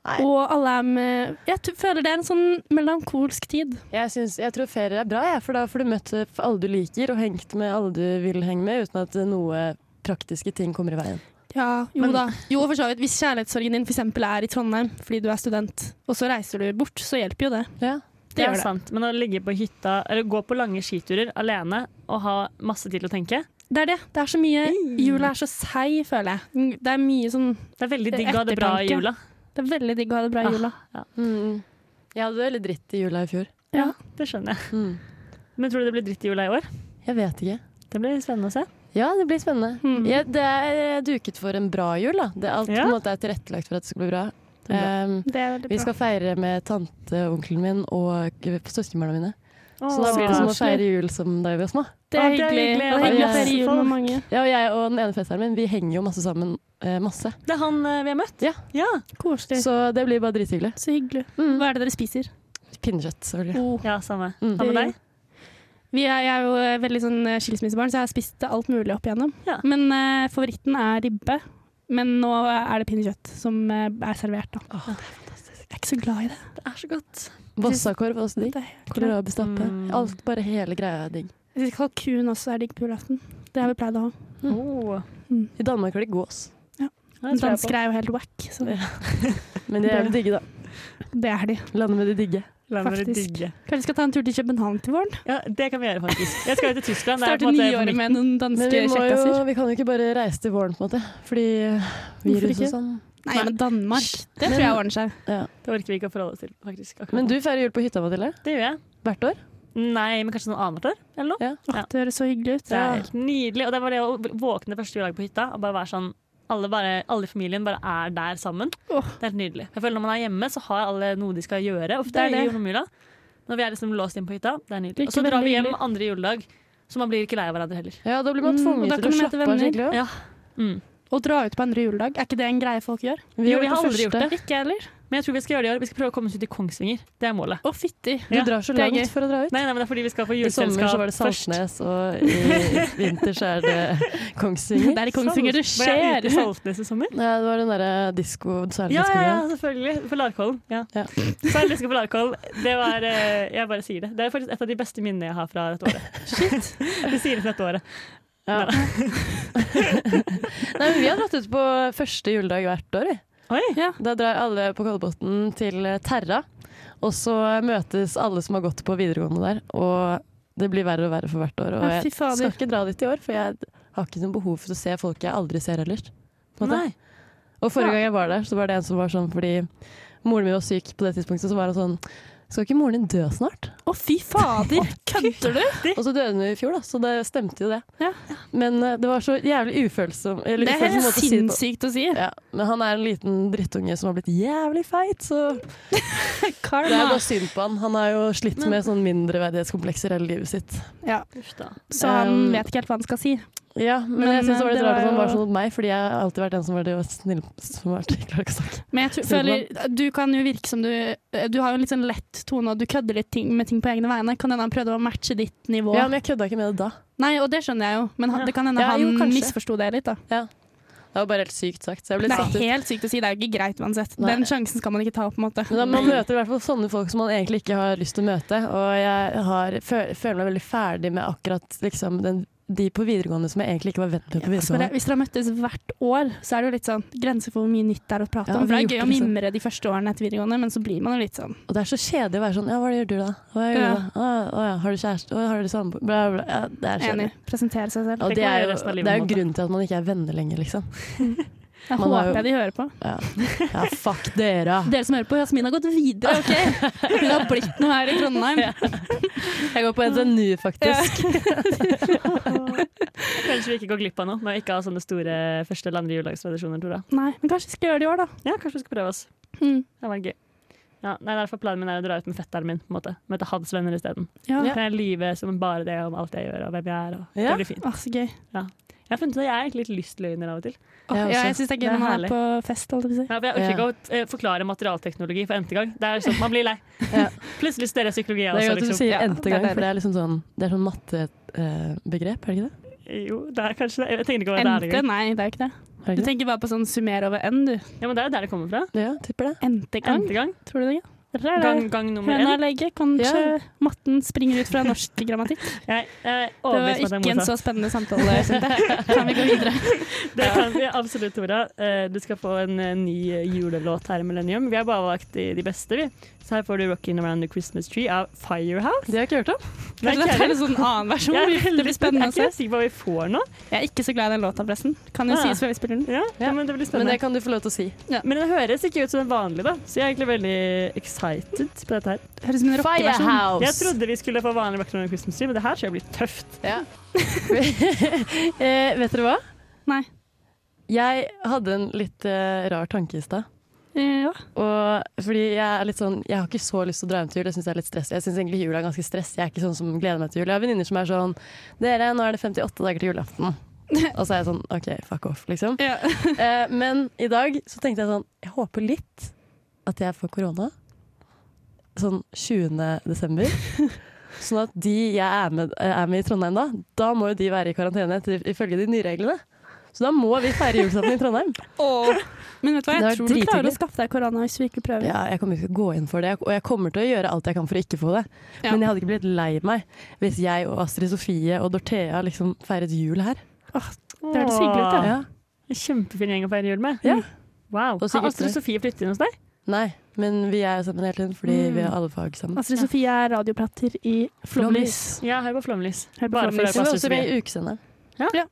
Nei.
Og alle er med Jeg t føler det er en sånn melankolsk tid.
Jeg, syns- jeg tror ferier er bra, jeg, for da får du møtt eh, alle du liker, og hengt med alle du vil henge med, uten at eh, noe praktiske ting kommer i veien.
Ja, jo da. Jo, for så vidt. Hvis kjærlighetssorgen din for eksempel er i Trondheim fordi du er student, og så reiser du bort, så hjelper jo det.
Ja.
Det
gjør
er
det.
sant, men å ligge på hytta eller gå på lange skiturer alene og ha masse tid til å tenke
Det er det. Det er så mye Jula er så seig, føler jeg. Det er mye sånn
Det er veldig digg å ha det bra i
Ettertanke.
jula.
Det er veldig digg å ha det bra i jula.
Mm. Jeg hadde det veldig dritt i jula i fjor.
Ja.
Det skjønner jeg.
Mm.
Men tror du det blir dritt i jula i år?
Jeg vet ikke.
Det blir spennende å se.
Ja, det blir spennende.
Mm.
Jeg, det er eh, duket for en bra jul, da. Det er alt
Ja.
på en måte er tilrettelagt for at det skal bli bra.
Det er bra.
Um,
Det er veldig
vi
bra.
skal feire med tante, onkelen min og eh, søskenbarna mine. Så
Åh,
da blir det som å
koselig.
feire jul som da vi var små.
Det er
Ja, det er
hyggelig.
hyggelig.
Det er hyggelig å
Ja.
feire jul med mange.
Ja, og jeg og den ene fetteren min, vi henger jo masse sammen. Eh, masse.
Det er han eh, vi har møtt?
Ja.
Koselig. Så,
Så det blir bare drithyggelig.
hyggelig.
Mm.
Hva er det dere spiser?
Pinnekjøtt, selvfølgelig.
Oh.
Ja, samme.
Mm.
Hva med deg?
Vi er, jeg er jo eh, veldig sånn eh, skilsmissebarn, så jeg har spist alt mulig opp igjennom.
Ja.
Men eh, favoritten er ribbe. Men nå er det pinnekjøtt som eh, er servert, da.
Åh,
Jeg er ikke så glad i det.
Det er så godt.
Vossakorv er også digg.
Det er helt greit.
Kålrabistappe.
Mm.
Alt, bare hele greia er digg.
Jeg synes Kalkun også er digg på julaften. Det har vi pleid å ha.
Mm.
Oh,
I Danmark har de gås,
det tror jeg på.
Dansker er jo helt wack, så
men de er jævlig digge, da.
det er de.
Landet med de digge.
La meg
faktisk.
digge.
Kanskje vi skal ta en tur til København til våren?
Ja, det kan vi gjøre, faktisk. Jeg skal jo til Tyskland. Det er på
Starte
en måte
nyåret med noen danske
Men vi, må jo,
kjekkaser.
vi kan jo ikke bare reise til våren, på en måte. Fordi
Hvorfor
virus
ikke?
og sånn.
Nei, men Danmark. Det
Men-
tror jeg ordner seg.
Det orker vi ikke å forholde oss til, faktisk. akkurat
Men
nå.
du feirer jul på hytta, Mathilde.
Det gjør jeg.
Hvert år.
Nei, men kanskje noen annet år? Eller noe?
Åh,
Ja.
Det høres så hyggelig ut.
Det er helt nydelig. Og det var det å våkne første juledag på hytta og bare være sånn alle, bare, alle i familien bare er der sammen.
Åh.
Det er helt nydelig. Jeg føler Når man er hjemme, så har alle noe de skal gjøre. Ofte
Det er
i
det.
romjula. Når vi er liksom låst inn på hytta. Det er nydelig.
Virker
Og så drar
veldig
vi hjem
hyggelig.
andre juledag, så man blir ikke lei av hverandre heller.
Ja, da blir
Mm, og
man tvunget
da
til
kan
å
du møte
slappe av
venner.
skikkelig. også.
Ja. Mm.
Å dra ut på andre juledag, er ikke det en greie folk gjør?
Vi
Jo,
gjorde
vi har aldri gjort
første.
det.
Ikke jeg heller.
Men jeg tror vi skal gjøre det i år. Vi skal prøve å komme oss ut i Kongsvinger. Det er målet.
Å, fytti.
Du
Ja,
drar så
det er
langt
gøy.
for å dra ut.
Nei, nei, men det er fordi vi skal på
I sommer så var det
juleselskap først.
Saltnes, og i vinter så er det Kongsvinger.
Det er i Kongsvinger det
Var jeg
skjer.
ute i Saltnes i sommer?
Ja, det var den eh, derre disko
Ja, ja, ja, selvfølgelig. På Larkollen. Ja.
Ja.
Særlig på Larkollen. Det var eh, Jeg bare sier det. Det er faktisk et av de beste minnene jeg har fra dette året. Shit. Vi sier det fra dette året.
Ja. Nei, men vi har dratt ut på første juledag hvert år, vi.
Oi!
Da drar alle på Kolbotn til Terra, og så møtes alle som har gått på videregående der, og det blir verre og verre for hvert år. Og
Ja, fy
jeg
fader.
skal ikke dra dit i år, for jeg har ikke noe behov for å se folk jeg aldri ser ellers. på en måte.
Nei.
Og forrige gang jeg var der, så var det en som var sånn fordi moren min var syk på det tidspunktet, så var hun sånn skal ikke moren din dø snart?
Å, fy fader! Kødder du?
Og så døde hun jo i fjor, da, så det stemte jo det.
Ja.
Men eh, det var så jævlig ufølsom eller
Det er
ufølsom
helt
måte å si det på.
sinnssykt å si.
Ja, men han er en liten drittunge som har blitt jævlig feit, så Det er
Karma.
bare synd på han. Han har jo slitt
Men-
med sånn mindreverdighetskomplekser hele livet sitt.
Ja,
Uff da.
så han
Um,
vet ikke helt hva han skal si.
Ja, men,
Men, eh,
jeg syns det var litt
det var
rart at han
jo-
var sånn mot meg, fordi jeg har alltid vært den som var det var snill som var Jeg klarer ikke å snakke.
Men jeg tror,
Synd på
føler, du kan jo virke som du Du har jo en litt sånn lett tone, og du kødder litt ting, med ting på egne vegne. Kan hende han prøvde å matche ditt nivå.
Ja, men jeg kødda ikke med det da.
Nei, og det skjønner jeg jo, men han,
Ja.
det kan hende
Ja,
han
jo, kanskje.
misforsto det litt, da.
Det var bare helt sykt sagt. Så jeg ble
Det
litt
er
satt ut.
helt sykt å si, det er jo ikke greit uansett.
Nei.
Den sjansen skal man ikke ta, på en måte.
Men da, man møter i hvert fall sånne folk som man egentlig ikke har lyst til å møte. Og jeg har, føl, føler meg veldig ferdig med akkurat liksom, den, de på videregående som jeg egentlig ikke var venn med på
Så bare,
videregående.
hvis dere har møttes hvert år, så er det jo litt sånn grenser for hvor mye nytt det er å prate
Ja,
om. For det
vi
er gøy
har
å
gjort liksom. det,
mimre de første årene etter videregående, men så blir man jo litt sånn
Og det er så kjedelig å være sånn Ja, hva gjør du da? Hva gjør
Ja.
du da? Å, å, ja. Har du kjæreste? Å, har du samboer? Bla, bla. Ja, det er kjedelig.
enig. Presentere seg selv.
Og
Det
det
kan man
er
gjøre
jo
resten av livet,
det
på
er jo
en måte.
grunnen til at man ikke er venner lenger, liksom.
Jeg
man har
håper
jo- Ah.
jeg de hører på.
Ja, ja fuck dere.
Dere som hører på, Jasmin har gått videre, OK? Hun har blitt noe her i Trondheim.
Jeg går på NTNU, faktisk.
Kanskje vi ikke går glipp av noe med å ikke ha sånne store første eller andre juledagstradisjoner, Tora.
Nei, men kanskje vi skal gjøre det i år, da.
Ja, kanskje vi skal prøve oss.
Mm.
Det hadde vært gøy. Ja, nei, derfor Planen min er å dra ut med fetteren min. på en måte. Møte hans venner isteden.
Ja.
Kan jeg lyve som bare det om alt jeg gjør og hvem jeg er. Og
Ja.
Det blir fint.
Å, så gøy.
Jeg har funnet ut at jeg er egentlig litt lystløgner av og til.
Å,
Jeg
ja,
også.
jeg syns det er gøy
Det er
når man
herlig.
er på fest, holdt jeg på å si.
Ja, for jeg orker ikke å eh, forklare materialteknologi for n-te gang. Det er liksom, Man blir lei.
Ja.
Plutselig studerer jeg psykologi.
Det
jeg
er
Også,
godt at du
liksom.
sier
Ja,
endte
det er
gang, for det er liksom sånn Det er sånn mattebegrep, er det ikke det?
Jo, det er kanskje det. Jeg tenker ikke over det er
Endte?
engang.
Nei, det er jo ikke det.
Er
Du
det ikke det?
tenker bare på sånn summer over n, du.
Ja, men det er jo der det kommer fra.
Ja, tipper det.
Endte gang,
Endte gang.
tror du det? Der er det.
Gang, gang nummer
Høna
én.
er lege, kanskje matten springer ut fra norsk grammatikk.
Jeg er
Det var
overbevist om at
ikke
jeg
en sånn-
motsatt.
så spennende samtale, Sinte. Kan vi gå videre?
Det kan vi absolutt, Tora. Eh, Du skal få en eh, ny julelåt her i Millennium. Vi har bare valgt de de beste, vi. Så her får du 'Rockin' Around the Christmas Tree' av Firehouse.
Det har jeg ikke hørt om.
Nei,
Kanskje dette
kjære.
er en sånn annen versjon.
Jeg er
Det
veldig-
blir spennende å
Jeg er
se.
ikke sikker på hva vi får nå.
Jeg er ikke så glad i den låta, forresten. Kan jo
Ah.
sies før vi spiller den.
Ja, ja. Men det blir
Men
spennende.
det kan du få lov til å si.
Men den høres ikke ut som den vanlige, da. Så jeg er egentlig veldig excited på dette her.
Høres ut som en rockeversjon.
Jeg trodde vi skulle få vanlig Rock and Roll Christmas Tree, men det her tror jeg blir tøft.
Ja. eh, vet dere hva?
Nei.
Jeg hadde en litt eh, rar tanke i stad.
Ja.
Og fordi jeg er litt sånn Jeg har ikke så lyst til å dra hjem til jul. Jeg syns det er litt stress. Jeg syns egentlig jul er ganske stress. Jeg er ikke sånn som gleder meg til jul. Jeg har venninner som er sånn Dere, nå er det 58 dager til julaften. Og så er jeg sånn OK, fuck off, liksom.
Ja.
Eh, men i dag så tenkte jeg sånn Jeg håper litt at jeg får korona. Sånn 20. desember. Sånn at de jeg er med, er med i Trondheim da, da må jo de være i karantene etter, ifølge de nye reglene. Så da må vi feire julaften i Trondheim.
Men vet du hva,
Det
jeg tror du
er
klarer
drithyggelig.
å skaffe deg korona hvis du virkelig prøver.
Ja, jeg kommer ikke til å gå inn for det, og jeg kommer til å gjøre alt jeg kan for å ikke få det.
Ja.
Men jeg hadde ikke blitt lei meg hvis jeg og Astrid Sofie og Dorthea liksom feiret jul her.
Det hørtes hyggelig ut, ja.
Ja.
En kjempefin gjeng å feire jul med.
Ja.
Wow.
Og så
Har Astrid
gutter.
Sofie flyttet inn hos deg?
Nei, men vi er jo sammen hele tiden fordi vi har alle fag
Altså,
sammen.
Astrid Sofie er radioplater i Flåmlys.
Ja, hør på Flåmlys.
Hør på
Bare for å høre på
Flåmlys.
Hun var
Astrid
også med
Sofie.
i ukesenderen.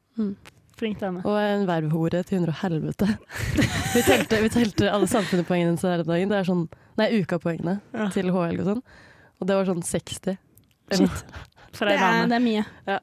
Flink dame.
Og en vervhore til hundre og helvete. Vi telte, vi telte alle samfunnspoengene hennes her om dagen. Det er sånn, nei, ukapoengene
Ja.
til HL og sånn. Og det var sånn 60.
For
Det
ei
er,
dame.
det er mye.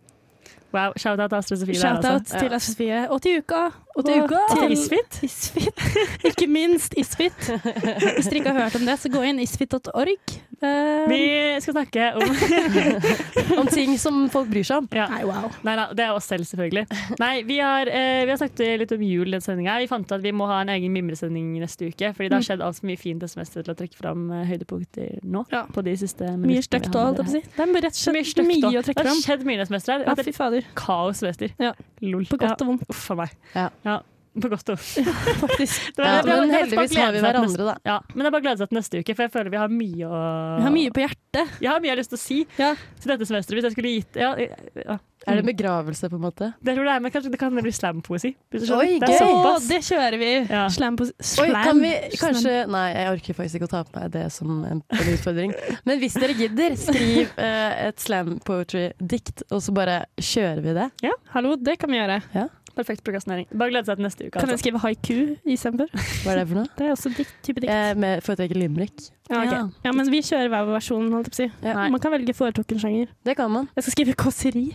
Wow, Shout-out til Astrid Sofie. der,
Shoutout
altså.
til Astrid Sofie. Og til uka. Og
til uka. Til
Isfit. Ikke minst Isfit. Hvis dere ikke har hørt om det, så gå inn isfit.org. Eh,
Vi skal snakke om
Om ting som folk bryr seg om.
ja.
Nei, wow.
Nei da, det er oss selv, selvfølgelig. Nei, vi har, eh, vi har snakket litt om jul i den sendinga. Vi fant ut at vi må ha en egen mimresending neste uke, fordi
Mm.
det har skjedd altfor mye fint det semesteret til å trekke fram eh, høydepunkter nå.
Ja.
På de siste
Mye
minuttene
støkt
vi
og
har
alt,
med dere
jeg si. Det er rett og
her. Mye
slett
støkt
mye
og-
å trekke
Det har
fram.
skjedd mye denne semesteret.
Ja,
og Det
fy fader.
er kaossemester.
Ja.
Lol.
På godt og vondt,
Ja. Uff a meg.
Ja.
På godt og vondt.
faktisk.
Det var-
Ja,
det var- det var bare
men
å
heldigvis har
glede
vi
seg til
hverandre, da.
neste- Ja, men det er bare å glede seg til neste uke, for jeg føler vi har mye å
Vi har mye på hjertet.
Jeg har mye jeg har lyst til å si
Ja.
til dette semesteret. Hvis jeg skulle gitt ja, ja.
Er det en begravelse, på en måte?
Det tror jeg det er, men kanskje det kan bli slampoesi. hvis du skjønner.
Oi,
det er
gøy.
Å,
såpass.
det kjører vi!
Ja.
Slam på
Oi,
slam.
kan vi kanskje Nei, jeg orker faktisk ikke å ta på meg det som en, en utfordring. Men hvis dere gidder, skriv eh, et slam poetry-dikt, og så bare kjører vi det.
Hallo, det kan vi gjøre.
Perfekt prokrastinering. Bare glede seg til neste uke.
Kan jeg
Altså.
skrive haiku istedenfor?
Hva er det for noe?
Det er også dikt, type dikt.
Eh,
Jeg med- foretrekker limerick.
Ja, ok. ja, men vi kjører hver vår versjon, holdt jeg på å si.
Ja.
Man kan velge foretrukken sjanger.
Det kan man.
Jeg skal skrive kåseri.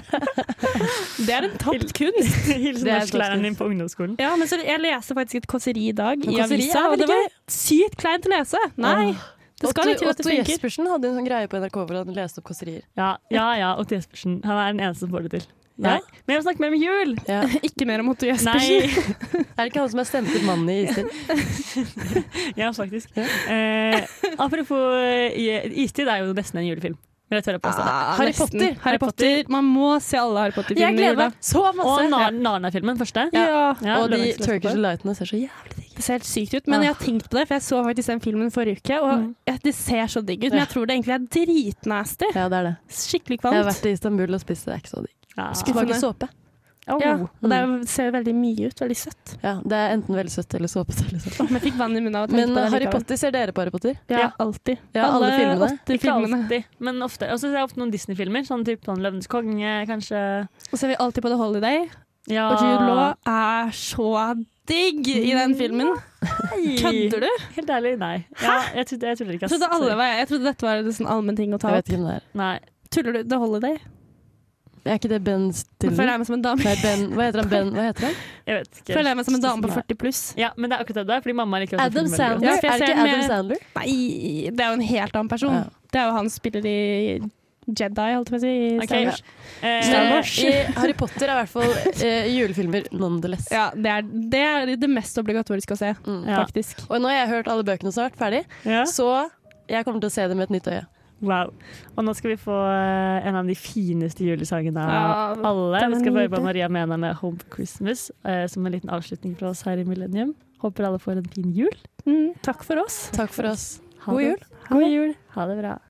det er en tapt kunst.
Hilsen
Det er
norsklæreren
godt
din på ungdomsskolen.
Ja, men så jeg leste faktisk et kåseri i dag
Men
i
kåseri
avisa,
er
og
vel
det var sykt kleint å lese. Nei, det skal litt til at det
Otto
funker.
Jespersen hadde en sånn greie på NRK hvor han leste opp kåserier.
Ja, ja, ja Otto Jespersen. Han er den eneste som får det til.
Ja.
Nei. Men jeg vil snakke mer om jul!
Ja.
Ikke mer om Otto Jespersen.
Nei,
Er det ikke han som er stemt ut mannen i Istid?
ja, faktisk.
Ja.
Eh, apropos eh, Istid er jo nesten en julefilm. Vil jeg tørre å påstå.
Ah,
Harry
nesten.
Potter.
Harry Potter. Man må se alle Harry
Jeg
Potter-filmer. i
gleder
jula.
meg så
Og
masse!
Nar- Narnia-filmen første.
Ja.
Ja,
og de
Løvenes løfte
Turkish
på.
Delightene ser så jævlig digg ut.
Det ser helt sykt ut, men jeg har tenkt på det, for jeg så faktisk den filmen forrige uke, og
Mm.
jeg- det ser så digg ut, men jeg tror det egentlig er dritnasty.
Ja, det er det.
Skikkelig
Jeg har
kvalmt.
vært i Istanbul og spist det. Det er ikke så digg.
Ja.
Smaker såpe.
Au.
Ja, og det er- ser veldig mye ut. Veldig søtt.
Ja, det er enten veldig søtt eller såpete. Eller sånt.
Åh, men jeg fikk vann i munnen av å tenke
Men
på
eh,
det.
Harry
likevel.
Potter, ser dere på Harry Potter?
Ja, alltid.
Ja, alle filmene.
åtte
Ikke
filmene.
alltid, men ofte. Og så ser jeg ofte noen Disney-filmer, sånn type sånn 'Løvenes konge', kanskje.
Og så er vi alltid på The Holiday,
Ja.
og Jude Law er så digg i den filmen. Kødder du?
Helt ærlig, nei. Ja, jeg trodde, jeg trodde ikke
Jeg
ass.
trodde, alle
Sorry.
var, jeg trodde dette var en sånn allmenn ting å ta
Jeg
opp.
vet ikke hvem det er.
Nei.
Tuller du? The Holiday?
Er ikke det Ben
Nå Føler
Stiller?
jeg meg som en dame,
Nei, ben, hva heter han? Ben, hva heter han?
Jeg vet ikke.
føler jeg meg som en dame på
Nei.
40 pluss.
Ja, men det er akkurat det det er, fordi mamma liker også
Adam
filmen veldig
Sandler?
godt.
Ja, for jeg
er det
ser
ikke Adam
med-
Sandler?
Nei, det er jo en helt annen person.
Ja.
Det er jo han som spiller i Jedi, holdt jeg på å si. I
Ok,
Star Wars.
Eh,
Star
Eh,
Wars.
i Harry Potter er i hvert fall eh, julefilmer nonetheless.
Ja, det er, det er det mest obligatoriske å se,
Mm.
Ja.
faktisk.
Og nå har jeg hørt alle bøkene snart ferdig,
ja.
så jeg kommer til å se det med et nytt øye.
Wow. Og nå skal vi få eh, en av de fineste julesangene av
Ja,
alle.
den er
Vi skal få høre
nydelig.
på Maria Mena med 'Home for Christmas' eh, som en liten avslutning fra oss her i Millennium. Håper alle får en fin jul.
Mm, takk for oss.
Takk for oss.
Ha
God
det-
jul.
God jul. Ha det bra.